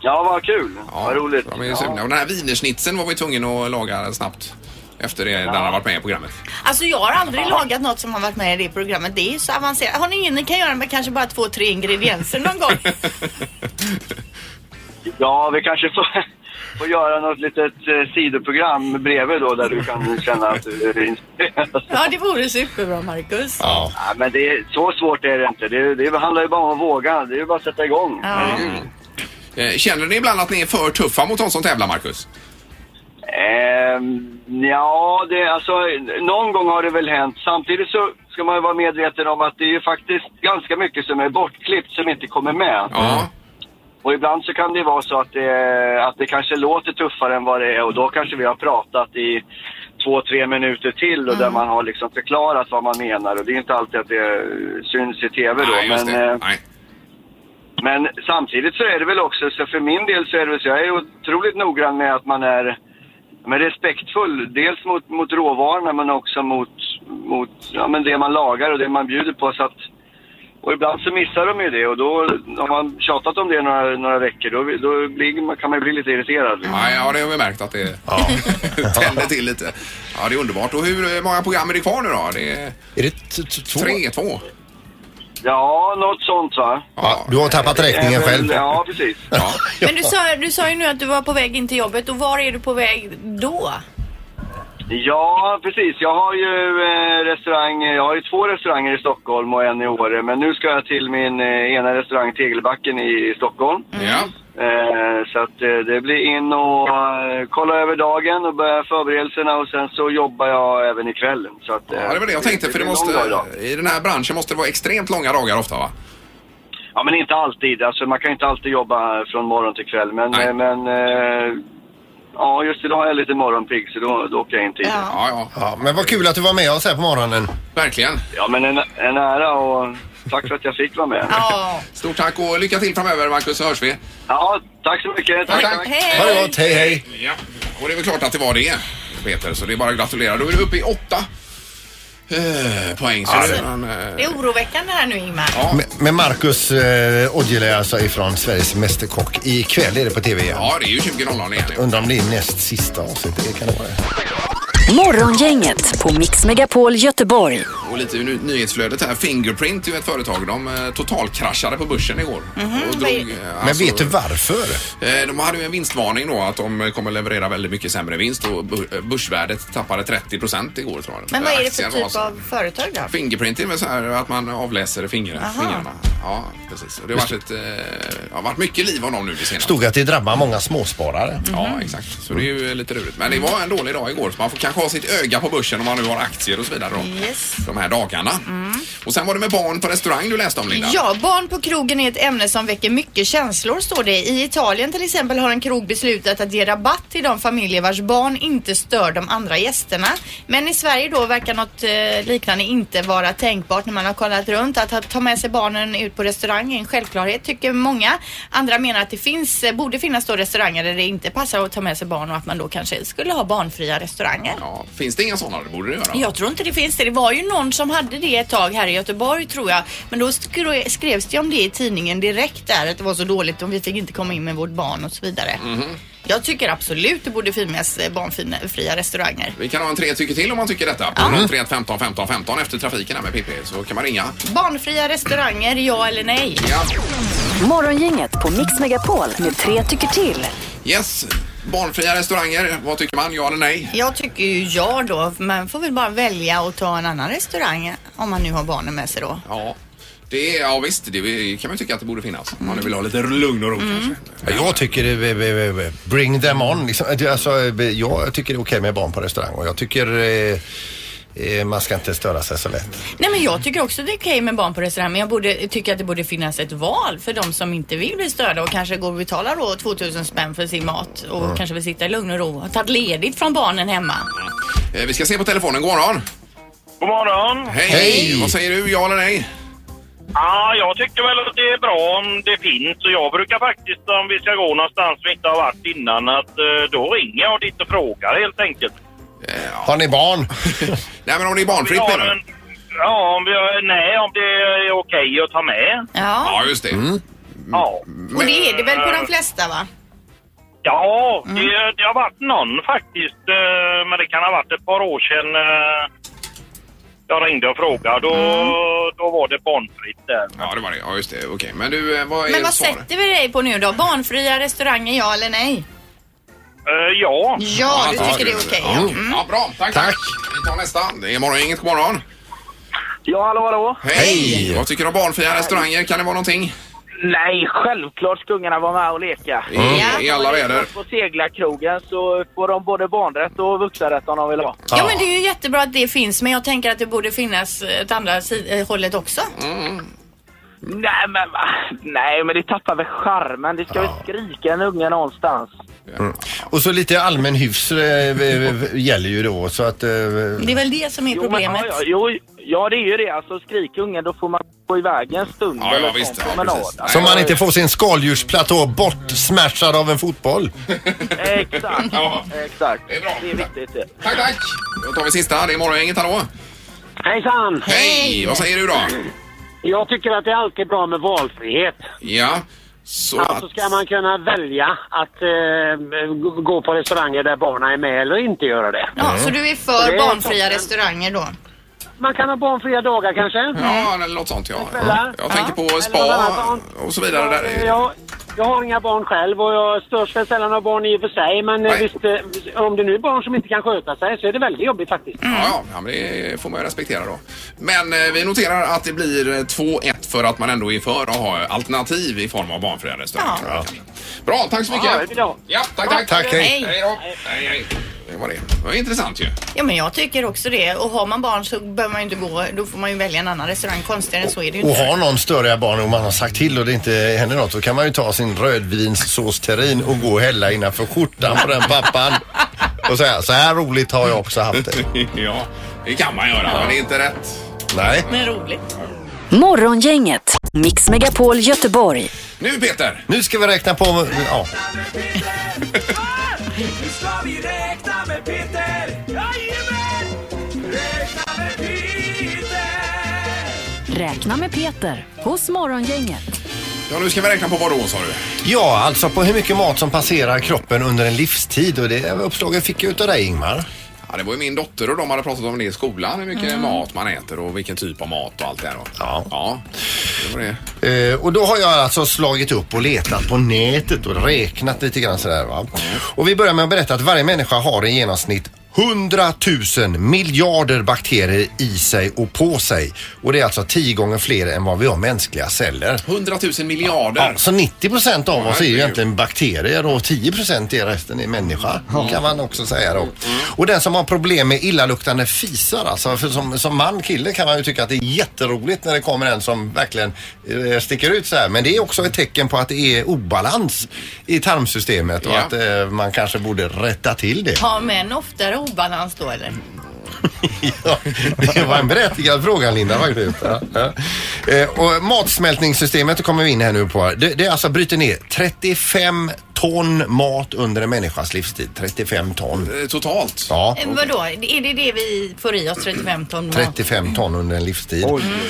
Speaker 13: Ja, vad kul. vad roligt.
Speaker 3: De är ju sugna. Och den här wienerschnitzeln var vi tvungna att laga snabbt efter det när han har varit med i programmet.
Speaker 4: Alltså jag har aldrig lagat något som har varit med i det programmet. Det är ju så avancerat. Har ni ingen ni kan göra med kanske bara två, tre ingredienser någon gång?
Speaker 13: Ja, vi kanske får, får göra något litet eh, sidoprogram bredvid då där du kan känna att du är inspirerad.
Speaker 4: Ja, det vore superbra Marcus.
Speaker 5: Ja.
Speaker 13: men det är, så svårt är det inte. Det, det handlar ju bara om att våga. Det är ju bara att sätta igång.
Speaker 3: Eh, Känner ni ibland att ni är för tuffa mot de som tävlar, Marcus?
Speaker 13: Ehm, ja, det, alltså, någon gång har det väl hänt. Samtidigt så ska man ju vara medveten om att det är ju faktiskt ganska mycket som är bortklippt som inte kommer med. Och ibland så kan det vara så att
Speaker 9: eh,
Speaker 13: det, att det kanske låter tuffare än vad det är och då kanske vi har pratat i två, tre minuter till och där man har liksom förklarat vad man menar och det är inte alltid att det syns i TV då.
Speaker 3: Nej, just
Speaker 13: men,
Speaker 3: det.
Speaker 13: eh, men samtidigt så är det väl också, så för min del så är det väl så, jag är otroligt noggrann med att man är men respektfull, dels mot, mot råvarorna men också mot, mot ja, men det man lagar och det man bjuder på. Så att, och ibland så missar de ju det och då har man tjatat om det några, några veckor då, då blir, man- kan man ju bli lite irriterad.
Speaker 3: Nej, ja, det har vi märkt att det tänder till lite. Ja, det är underbart. Och hur många program är det kvar nu då? Det är
Speaker 5: Är det t- t- två?
Speaker 3: tre, två.
Speaker 13: Ja, något sånt va?
Speaker 5: Ja, du har tappat räkningen
Speaker 13: Även-
Speaker 5: själv.
Speaker 13: Ja, precis.
Speaker 4: Men du sa, du sa ju nu att du var på väg in till jobbet och var är du på väg då?
Speaker 13: Ja, precis. Jag har ju eh, restaurang, jag har ju två restauranger i Stockholm och en i Åre. Men nu ska jag till min eh, ena restaurang Tegelbacken i Stockholm. Eh, så att eh, det blir in och eh, kolla över dagen och börja förberedelserna och sen så jobbar jag även ikväll. Så att, eh,
Speaker 3: Ja, det var det jag tänkte. För det
Speaker 13: blir en lång dag idag.
Speaker 3: måste, I den här branschen måste det vara extremt långa dagar ofta, va?
Speaker 13: Ja, men inte alltid. Alltså, man kan ju inte alltid jobba från morgon till kväll. Men, eh, men eh, ja, just idag är jag lite morgonpigg så då, då åker jag in tidigt.
Speaker 3: Ja, ja.
Speaker 5: Ja, men vad kul att du var med oss här på morgonen.
Speaker 3: Verkligen.
Speaker 13: Ja, men en, en ära och tack för att jag fick vara med.
Speaker 3: Stort tack och lycka till framöver, Marcus, så hörs vi.
Speaker 13: Ja, tack så mycket.
Speaker 3: Tack, tack.
Speaker 5: Ha det gott, hej hej.
Speaker 3: Ja, och det är väl klart att det var det, Peter. Så det är bara att gratulera. Då är du uppe i åtta eh, poäng. Så
Speaker 5: Alltså,
Speaker 3: det, men, eh,
Speaker 4: Det är oroväckande här nu Ingmar.
Speaker 5: Med, med Marcus eh, Aujalay alltså ifrån Sveriges Mästerkock. Ikväll är det på TV igen.
Speaker 3: ja, det är ju 20.00 igen.
Speaker 5: Undrar om det är näst sista avsnittet. Det kan det vara.
Speaker 1: Morgongänget på Mix Megapol Göteborg.
Speaker 3: Och lite ur ny- nyhetsflödet här. Fingerprint är ju ett företag. De eh, totalkraschade på börsen igår. och drog, eh,
Speaker 5: Men
Speaker 3: alltså-
Speaker 5: vet du varför?
Speaker 3: Eh, De hade ju en vinstvarning då att de kommer leverera väldigt mycket sämre vinst och bör- eh, börsvärdet tappade 30 procent igår tror jag.
Speaker 4: Men vad är det för
Speaker 3: Aktien
Speaker 4: typ
Speaker 3: rasade.
Speaker 4: av företag då?
Speaker 3: Fingerprint är väl så här att man avläser fingrar,
Speaker 4: Aha.
Speaker 3: fingrarna. Ja, precis. Och Det har varit, ett, eh, det har varit mycket liv om dem nu det senaste.
Speaker 5: Stod att det drabbar många småsparare.
Speaker 4: Mm.
Speaker 3: Ja, exakt. Så det är ju lite roligt. Men det var en dålig dag igår så man får kanske ha sitt öga på börsen om man nu har aktier och så vidare då,
Speaker 4: Yes. Mm.
Speaker 3: de här dagarna. Och sen var det med barn på restaurang du läste om Linda.
Speaker 4: Ja, barn på krogen är ett ämne som väcker mycket känslor står det. I Italien till exempel har en krog beslutat att ge rabatt till de familjer vars barn inte stör de andra gästerna. Men i Sverige då verkar något eh, liknande inte vara tänkbart när man har kollat runt. Att ha- ta med sig barnen ut ut på restaurang är en självklarhet tycker många. Andra menar att det finns, eh, borde finnas då restauranger där det inte passar att ta med sig barn och att man då kanske skulle ha barnfria restauranger.
Speaker 3: Ja, finns det inga sådana? Det borde det göra.
Speaker 4: Jag tror inte det finns det. Det var ju någon som hade det ett tag här i Göteborg tror jag. Men då skro- skrevs det om det i tidningen direkt där att det var så dåligt och vi fick inte komma in med vårt barn och så vidare. Jag tycker absolut det borde finnas eh, barnfria restauranger.
Speaker 3: Vi kan ha en tre tycker till om man tycker detta. På 031 15 15 15 efter trafiken här med Pippi så kan man ringa.
Speaker 4: Barnfria restauranger, ja eller nej?
Speaker 1: Morgongänget på Mix Megapol med tre tycker till.
Speaker 3: Yes, barnfria restauranger. Vad tycker man? Ja eller nej?
Speaker 4: Jag tycker ju ja då. Man får väl bara välja att ta en annan restaurang om man nu har barnen med sig då.
Speaker 3: Ja. Det, är- ja visst, det kan man ju tycka att det borde finnas. Om man nu vill ha lite lugn och ro kanske.
Speaker 5: Ja, Jag tycker eh, det är- är- är- är- bring them on. Liksom. Det- Alltså, eh, jag tycker det är okej med barn på restaurang och jag tycker eh, eh, man ska inte störa sig så lätt.
Speaker 4: Nej men jag tycker också det är okej med barn på restaurang men jag borde, tycker att det borde finnas ett val för de som inte vill bli störda och kanske går och betalar då 2000 spänn för sin mat och
Speaker 3: Mm.
Speaker 4: kanske vill sitta i lugn och ro och ha tagit ledigt från barnen hemma.
Speaker 3: Eh, Vi ska se på telefonen. God morgon.
Speaker 14: God morgon.
Speaker 3: Hej. Vad säger du? Ja eller nej?
Speaker 14: Ja, jag tycker väl att det är bra om det finns och jag brukar faktiskt om vi ska gå någonstans vi inte har varit innan att eh, då ringer jag dit och frågar helt enkelt.
Speaker 5: Har ni barn?
Speaker 3: Nej men om det är barnfritt
Speaker 14: Om vi har
Speaker 3: menar du?
Speaker 14: en- Ja, om vi har, nej, om det är okej att ta med.
Speaker 4: Ja.
Speaker 3: Ja, just det.
Speaker 14: Ja.
Speaker 4: Och det är det väl på de flesta va?
Speaker 14: Ja,
Speaker 13: Mm.
Speaker 14: det, det har varit någon faktiskt, eh, men det kan ha varit ett par år sedan eh, jag ringde och frågade. Då,
Speaker 13: Mm.
Speaker 14: då var det barnfritt där.
Speaker 3: Ja, det var det. Ja, just det. Okej. Men du, eh, vad är
Speaker 4: Men
Speaker 3: ditt
Speaker 4: vad
Speaker 3: svar?
Speaker 4: sätter vi dig på nu då? Barnfria restauranger, ja eller nej?
Speaker 14: Eh, ja.
Speaker 4: Ja, du tycker det är okej. Mm. ja.
Speaker 3: Ja. ja, bra. Tack, tack. Vi tar nästa. Det är morgongänget. God morgon.
Speaker 14: Ja, hallå, hallå.
Speaker 3: Hej! Vad tycker du om barnfria restauranger? Kan det vara någonting?
Speaker 14: Nej, självklart ska ungarna vara med och leka.
Speaker 3: I- Mm. i alla väder.
Speaker 14: På seglarkrogen så får de både barnrätt och vuxenrätt om de vill ha.
Speaker 4: Ja men det är ju jättebra att det finns men jag tänker att det borde finnas ett andra si- eh, hållet också.
Speaker 14: Nej, men, va? Nej, men det tappar väl charmen. Det ska väl skrika en unge någonstans.
Speaker 5: Mm. Och så lite allmän hyfs eh, v- v- gäller ju då så att... eh,
Speaker 4: Det är väl det som är
Speaker 14: Jo, men,
Speaker 4: problemet.
Speaker 14: ja, ja, jo, ja, det är ju det. Alltså, skrik ungen, då får man gå iväg en stund.
Speaker 3: Ja, ja,
Speaker 14: eller
Speaker 3: visst.
Speaker 14: ta en
Speaker 3: Ja,
Speaker 14: promenad.
Speaker 3: precis.
Speaker 5: Så man inte får sin skaldjursplatå bortsmashad av en fotboll.
Speaker 14: Exakt.
Speaker 3: Ja.
Speaker 14: Exakt.
Speaker 3: Det är bra.
Speaker 14: Det är viktigt. det.
Speaker 3: Tack, tack! Då tar vi sista. Det är morgongänget. Hallå!
Speaker 15: Hejsan!
Speaker 3: Hej! Vad säger du då?
Speaker 15: Jag tycker att det är alltid bra med valfrihet.
Speaker 3: Ja, så
Speaker 15: Alltså
Speaker 3: att...
Speaker 15: ska man kunna välja att eh, gå- gå på restauranger där barnen är med eller inte göra det.
Speaker 4: Ja, så du är
Speaker 15: Och det
Speaker 4: för
Speaker 15: är
Speaker 4: barnfria restauranger då?
Speaker 15: Man kan ha barnfria dagar kanske?
Speaker 14: Mm.
Speaker 3: Ja, eller något sånt ja.
Speaker 15: Kvällar?
Speaker 3: Jag tänker på spa och så vidare. Där. är-
Speaker 15: Jag, jag har inga barn själv och jag störs väl sällan av barn i och för sig men eh, visst, eh, om det nu är barn som inte kan sköta sig så är det väldigt jobbigt faktiskt.
Speaker 3: Ja, ja, men det får man ju respektera då. Men eh, vi noterar att det blir eh, 2-1 för att man ändå är för att ha alternativ i form av barnfria restauranger.
Speaker 5: Ja.
Speaker 3: Bra, tack så mycket!
Speaker 4: Ja, det vill jag ha.
Speaker 3: Ja, tack, tack!
Speaker 4: Tack, hej.
Speaker 3: Hej då! Hej, hej. Det var det. Det var intressant ju.
Speaker 4: Ja men jag tycker också det. Och har man barn så behöver man ju inte gå. Då får man ju välja en annan restaurang. Konstigare än så är det ju
Speaker 5: Och
Speaker 4: inte.
Speaker 5: har någon större barn och man har sagt till och det inte händer något så kan man ju ta sin rödvinssåsterrin och gå och hälla innanför skjortan på den pappan. Och säga så här roligt har jag också haft det.
Speaker 3: ja, det kan man göra men det är inte rätt.
Speaker 5: Nej.
Speaker 4: Men roligt.
Speaker 1: Morgongänget, Mix Megapol Göteborg.
Speaker 3: Nu Peter!
Speaker 5: Nu ska vi räkna på... Ja.
Speaker 12: Nu ska vi räkna med Peter! Jajamän! Räkna med Peter!
Speaker 1: Räkna med Peter hos Morgongänget.
Speaker 3: Ja, nu ska vi räkna på vad då sa du?
Speaker 5: ja, alltså på hur mycket mat som passerar kroppen under en livstid och det uppslaget fick jag utav dig Ingmar.
Speaker 3: Ja, det var ju min dotter och de hade pratat om det i skolan, hur mycket mat man äter och vilken typ av mat och allt det här. då. Ja. ja. Det var det.
Speaker 5: Eh, och då har jag alltså slagit upp och letat på nätet och räknat lite grann sådär va. Och vi börjar med att berätta att varje människa har i genomsnitt 100 000 miljarder bakterier i sig och på sig. Och det är alltså 10 gånger fler än vad vi har mänskliga celler.
Speaker 3: 100 000 miljarder?
Speaker 5: Ja, så 90 procent av oss är ju
Speaker 3: herregud.
Speaker 5: egentligen bakterier och 10 procent är resten är människa. Kan man också säga då. Och den som har problem med illaluktande fisar alltså, för som, som man, kille kan man ju tycka att det är jätteroligt när det kommer en som verkligen eh, sticker ut så här. Men det är också ett tecken på att det är obalans i tarmsystemet och
Speaker 4: Ja.
Speaker 5: att eh, man kanske borde rätta till det.
Speaker 4: Har män oftare obalans då eller?
Speaker 5: ja, det var en berättigad fråga Linda faktiskt. Ja, ja. Eh, och matsmältningssystemet kommer vi in här nu på. Det, det alltså bryter ner 35 ton mat under en människas livstid. 35 ton.
Speaker 3: Totalt?
Speaker 5: Ja.
Speaker 4: Eh, Vadå, är det det vi får i oss 35 ton mat?
Speaker 5: 35 ton under en livstid.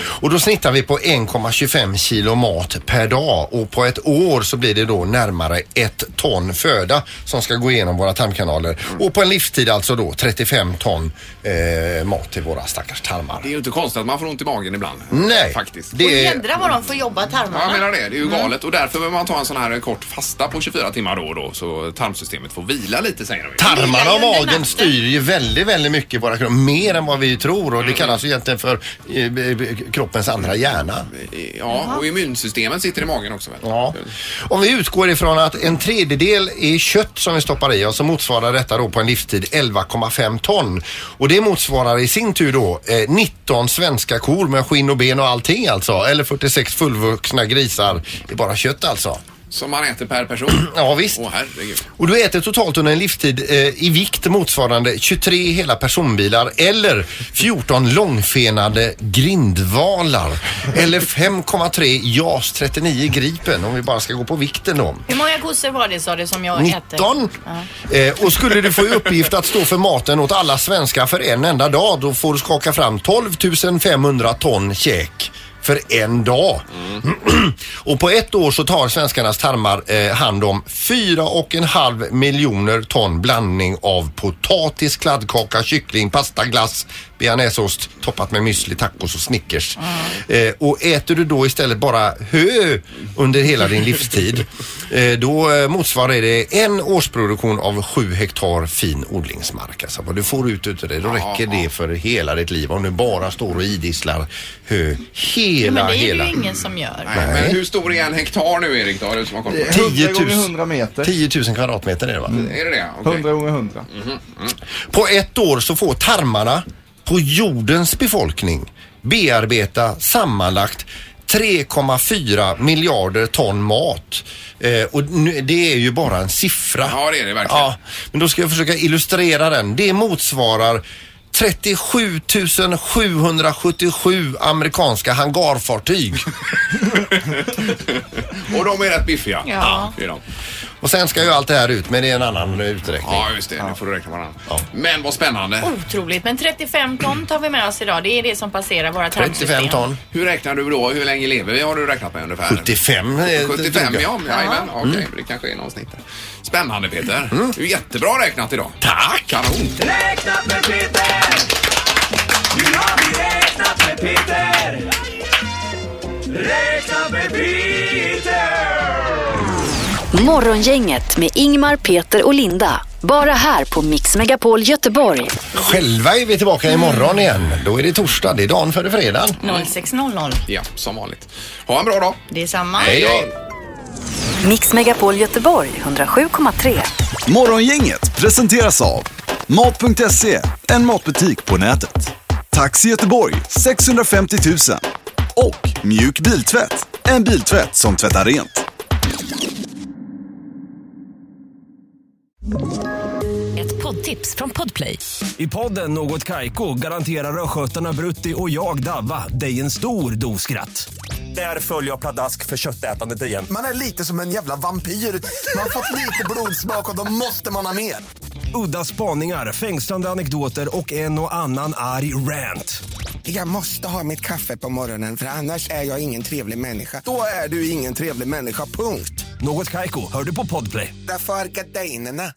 Speaker 5: Och då snittar vi på 1,25 kilo mat per dag och på ett år så blir det då närmare ett ton föda som ska gå igenom våra tarmkanaler. Och på en livstid alltså då 35 ton eh, mat till våra stackars tarmar.
Speaker 3: Det är ju inte konstigt att man får ont i magen ibland.
Speaker 5: Nej,
Speaker 3: Faktiskt.
Speaker 4: Och jädra vad de får jobba
Speaker 3: Ja,
Speaker 4: tarmarna.
Speaker 3: jag menar det. Det är ju galet och därför behöver man ta en sån här kort fasta på 24 timmar då och då så tarmsystemet får vila lite säger de ju.
Speaker 5: Tarmarna och magen styr ju väldigt, väldigt mycket i våra kroppar. Mer än vad vi tror och det kallas ju egentligen för eh, b- b- kroppens andra hjärna.
Speaker 3: Ja, och immunsystemet sitter i magen också väl?
Speaker 5: Ja. Om vi utgår ifrån att en tredjedel är kött som vi stoppar i oss så motsvarar detta då på en livstid 11,5 ton. Och det motsvarar i sin tur då eh, 19 svenska kor med skinn och ben och allting alltså. Eller 46 fullvuxna grisar i bara kött alltså.
Speaker 3: Som man äter per person?
Speaker 5: ja visst.
Speaker 3: Åh herregud.
Speaker 5: Och du äter totalt under en livstid eh, i vikt motsvarande 23 hela personbilar eller 14 långfenade grindvalar. Eller 5,3 JAS 39 Gripen om vi bara ska gå på vikten då.
Speaker 4: Hur många kossor var det sa du som jag äter?
Speaker 5: 19?
Speaker 4: Ja.
Speaker 5: Eh, och skulle du få i uppgift att stå för maten åt alla svenskar för en enda dag då får du skaka fram 12 500 ton käk för en dag. och på ett år så tar svenskarnas tarmar eh, hand om 4,5 miljoner ton blandning av potatis, kladdkaka, kyckling, pasta, glass, bearnaisesås toppat med müsli, tacos och Snickers. Eh, och äter du då istället bara hö under hela din livstid eh, då eh, motsvarar det en årsproduktion av sju hektar fin odlingsmark. Alltså vad du får ut utav det, då räcker det för hela ditt liv om du bara står och idisslar hö
Speaker 4: Ja,
Speaker 5: hela,
Speaker 4: men det är
Speaker 5: hela.
Speaker 4: ju ingen som gör.
Speaker 5: Nej.
Speaker 3: Men hur stor är en hektar nu Erik då? Har Du som har koll på det?
Speaker 5: 10 000, 10 000 kvadratmeter är det va?
Speaker 3: Är det det? Okej.
Speaker 11: 100 gånger 100.
Speaker 5: På ett år så får tarmarna på jordens befolkning bearbeta sammanlagt 3,4 miljarder ton mat. Eh, och nu, det är ju bara en siffra.
Speaker 3: Ja, det är det verkligen.
Speaker 5: Ja, men då ska jag försöka illustrera den. Det motsvarar 37 777 amerikanska hangarfartyg.
Speaker 3: Och de är rätt biffiga.
Speaker 5: Ja.
Speaker 3: Det är de.
Speaker 5: Och sen ska ju allt det här ut, men det är en annan uträkning.
Speaker 3: Ja, just det. Nu får du räkna varandra. Men vad spännande.
Speaker 4: Otroligt, men 35 ton tar vi med oss idag. Det är det som passerar våra tarmsystem.
Speaker 3: Hur räknar du då? Hur länge lever vi har du räknat med ungefär?
Speaker 5: 75. eh,
Speaker 3: 75
Speaker 5: drog jag.
Speaker 3: ja, men jajamän. Okej, det kanske är någon snitt där. Spännande Peter. Det är jättebra räknat idag.
Speaker 5: Tack!
Speaker 3: Kanon.
Speaker 12: Räknat med Peter! Nu har vi räknat med Peter! Räknat med Peter!
Speaker 1: Morgongänget med Ingmar, Peter och Linda. Bara här på Mix Megapol Göteborg.
Speaker 5: Själva är vi tillbaka imorgon igen. Då är det torsdag. Det är dagen före fredagen.
Speaker 4: 0600.
Speaker 3: Ja, som vanligt. Ha en bra dag.
Speaker 4: Det är samma.
Speaker 1: Mix Megapol Göteborg 107,3.
Speaker 2: Morgongänget presenteras av Mat.se, en matbutik på nätet. Taxi Göteborg 650 000 och Mjuk Biltvätt, en biltvätt som tvättar rent.
Speaker 16: Ett poddtips från Podplay.
Speaker 12: I podden Något Kaiko garanterar östgötarna Brutti och jag, Davva, dig en stor dos skratt. Där följer jag pladask för köttätandet igen.
Speaker 17: Man är lite som en jävla vampyr. Man har fått lite blodsmak och då måste man ha mer.
Speaker 12: Udda spaningar, fängslande anekdoter och en och annan arg rant.
Speaker 17: Jag måste ha mitt kaffe på morgonen för annars är jag ingen trevlig människa. Då är du ingen trevlig människa, punkt.
Speaker 12: Något Kaiko, hör du på Podplay.
Speaker 17: Därför arkadeinerna.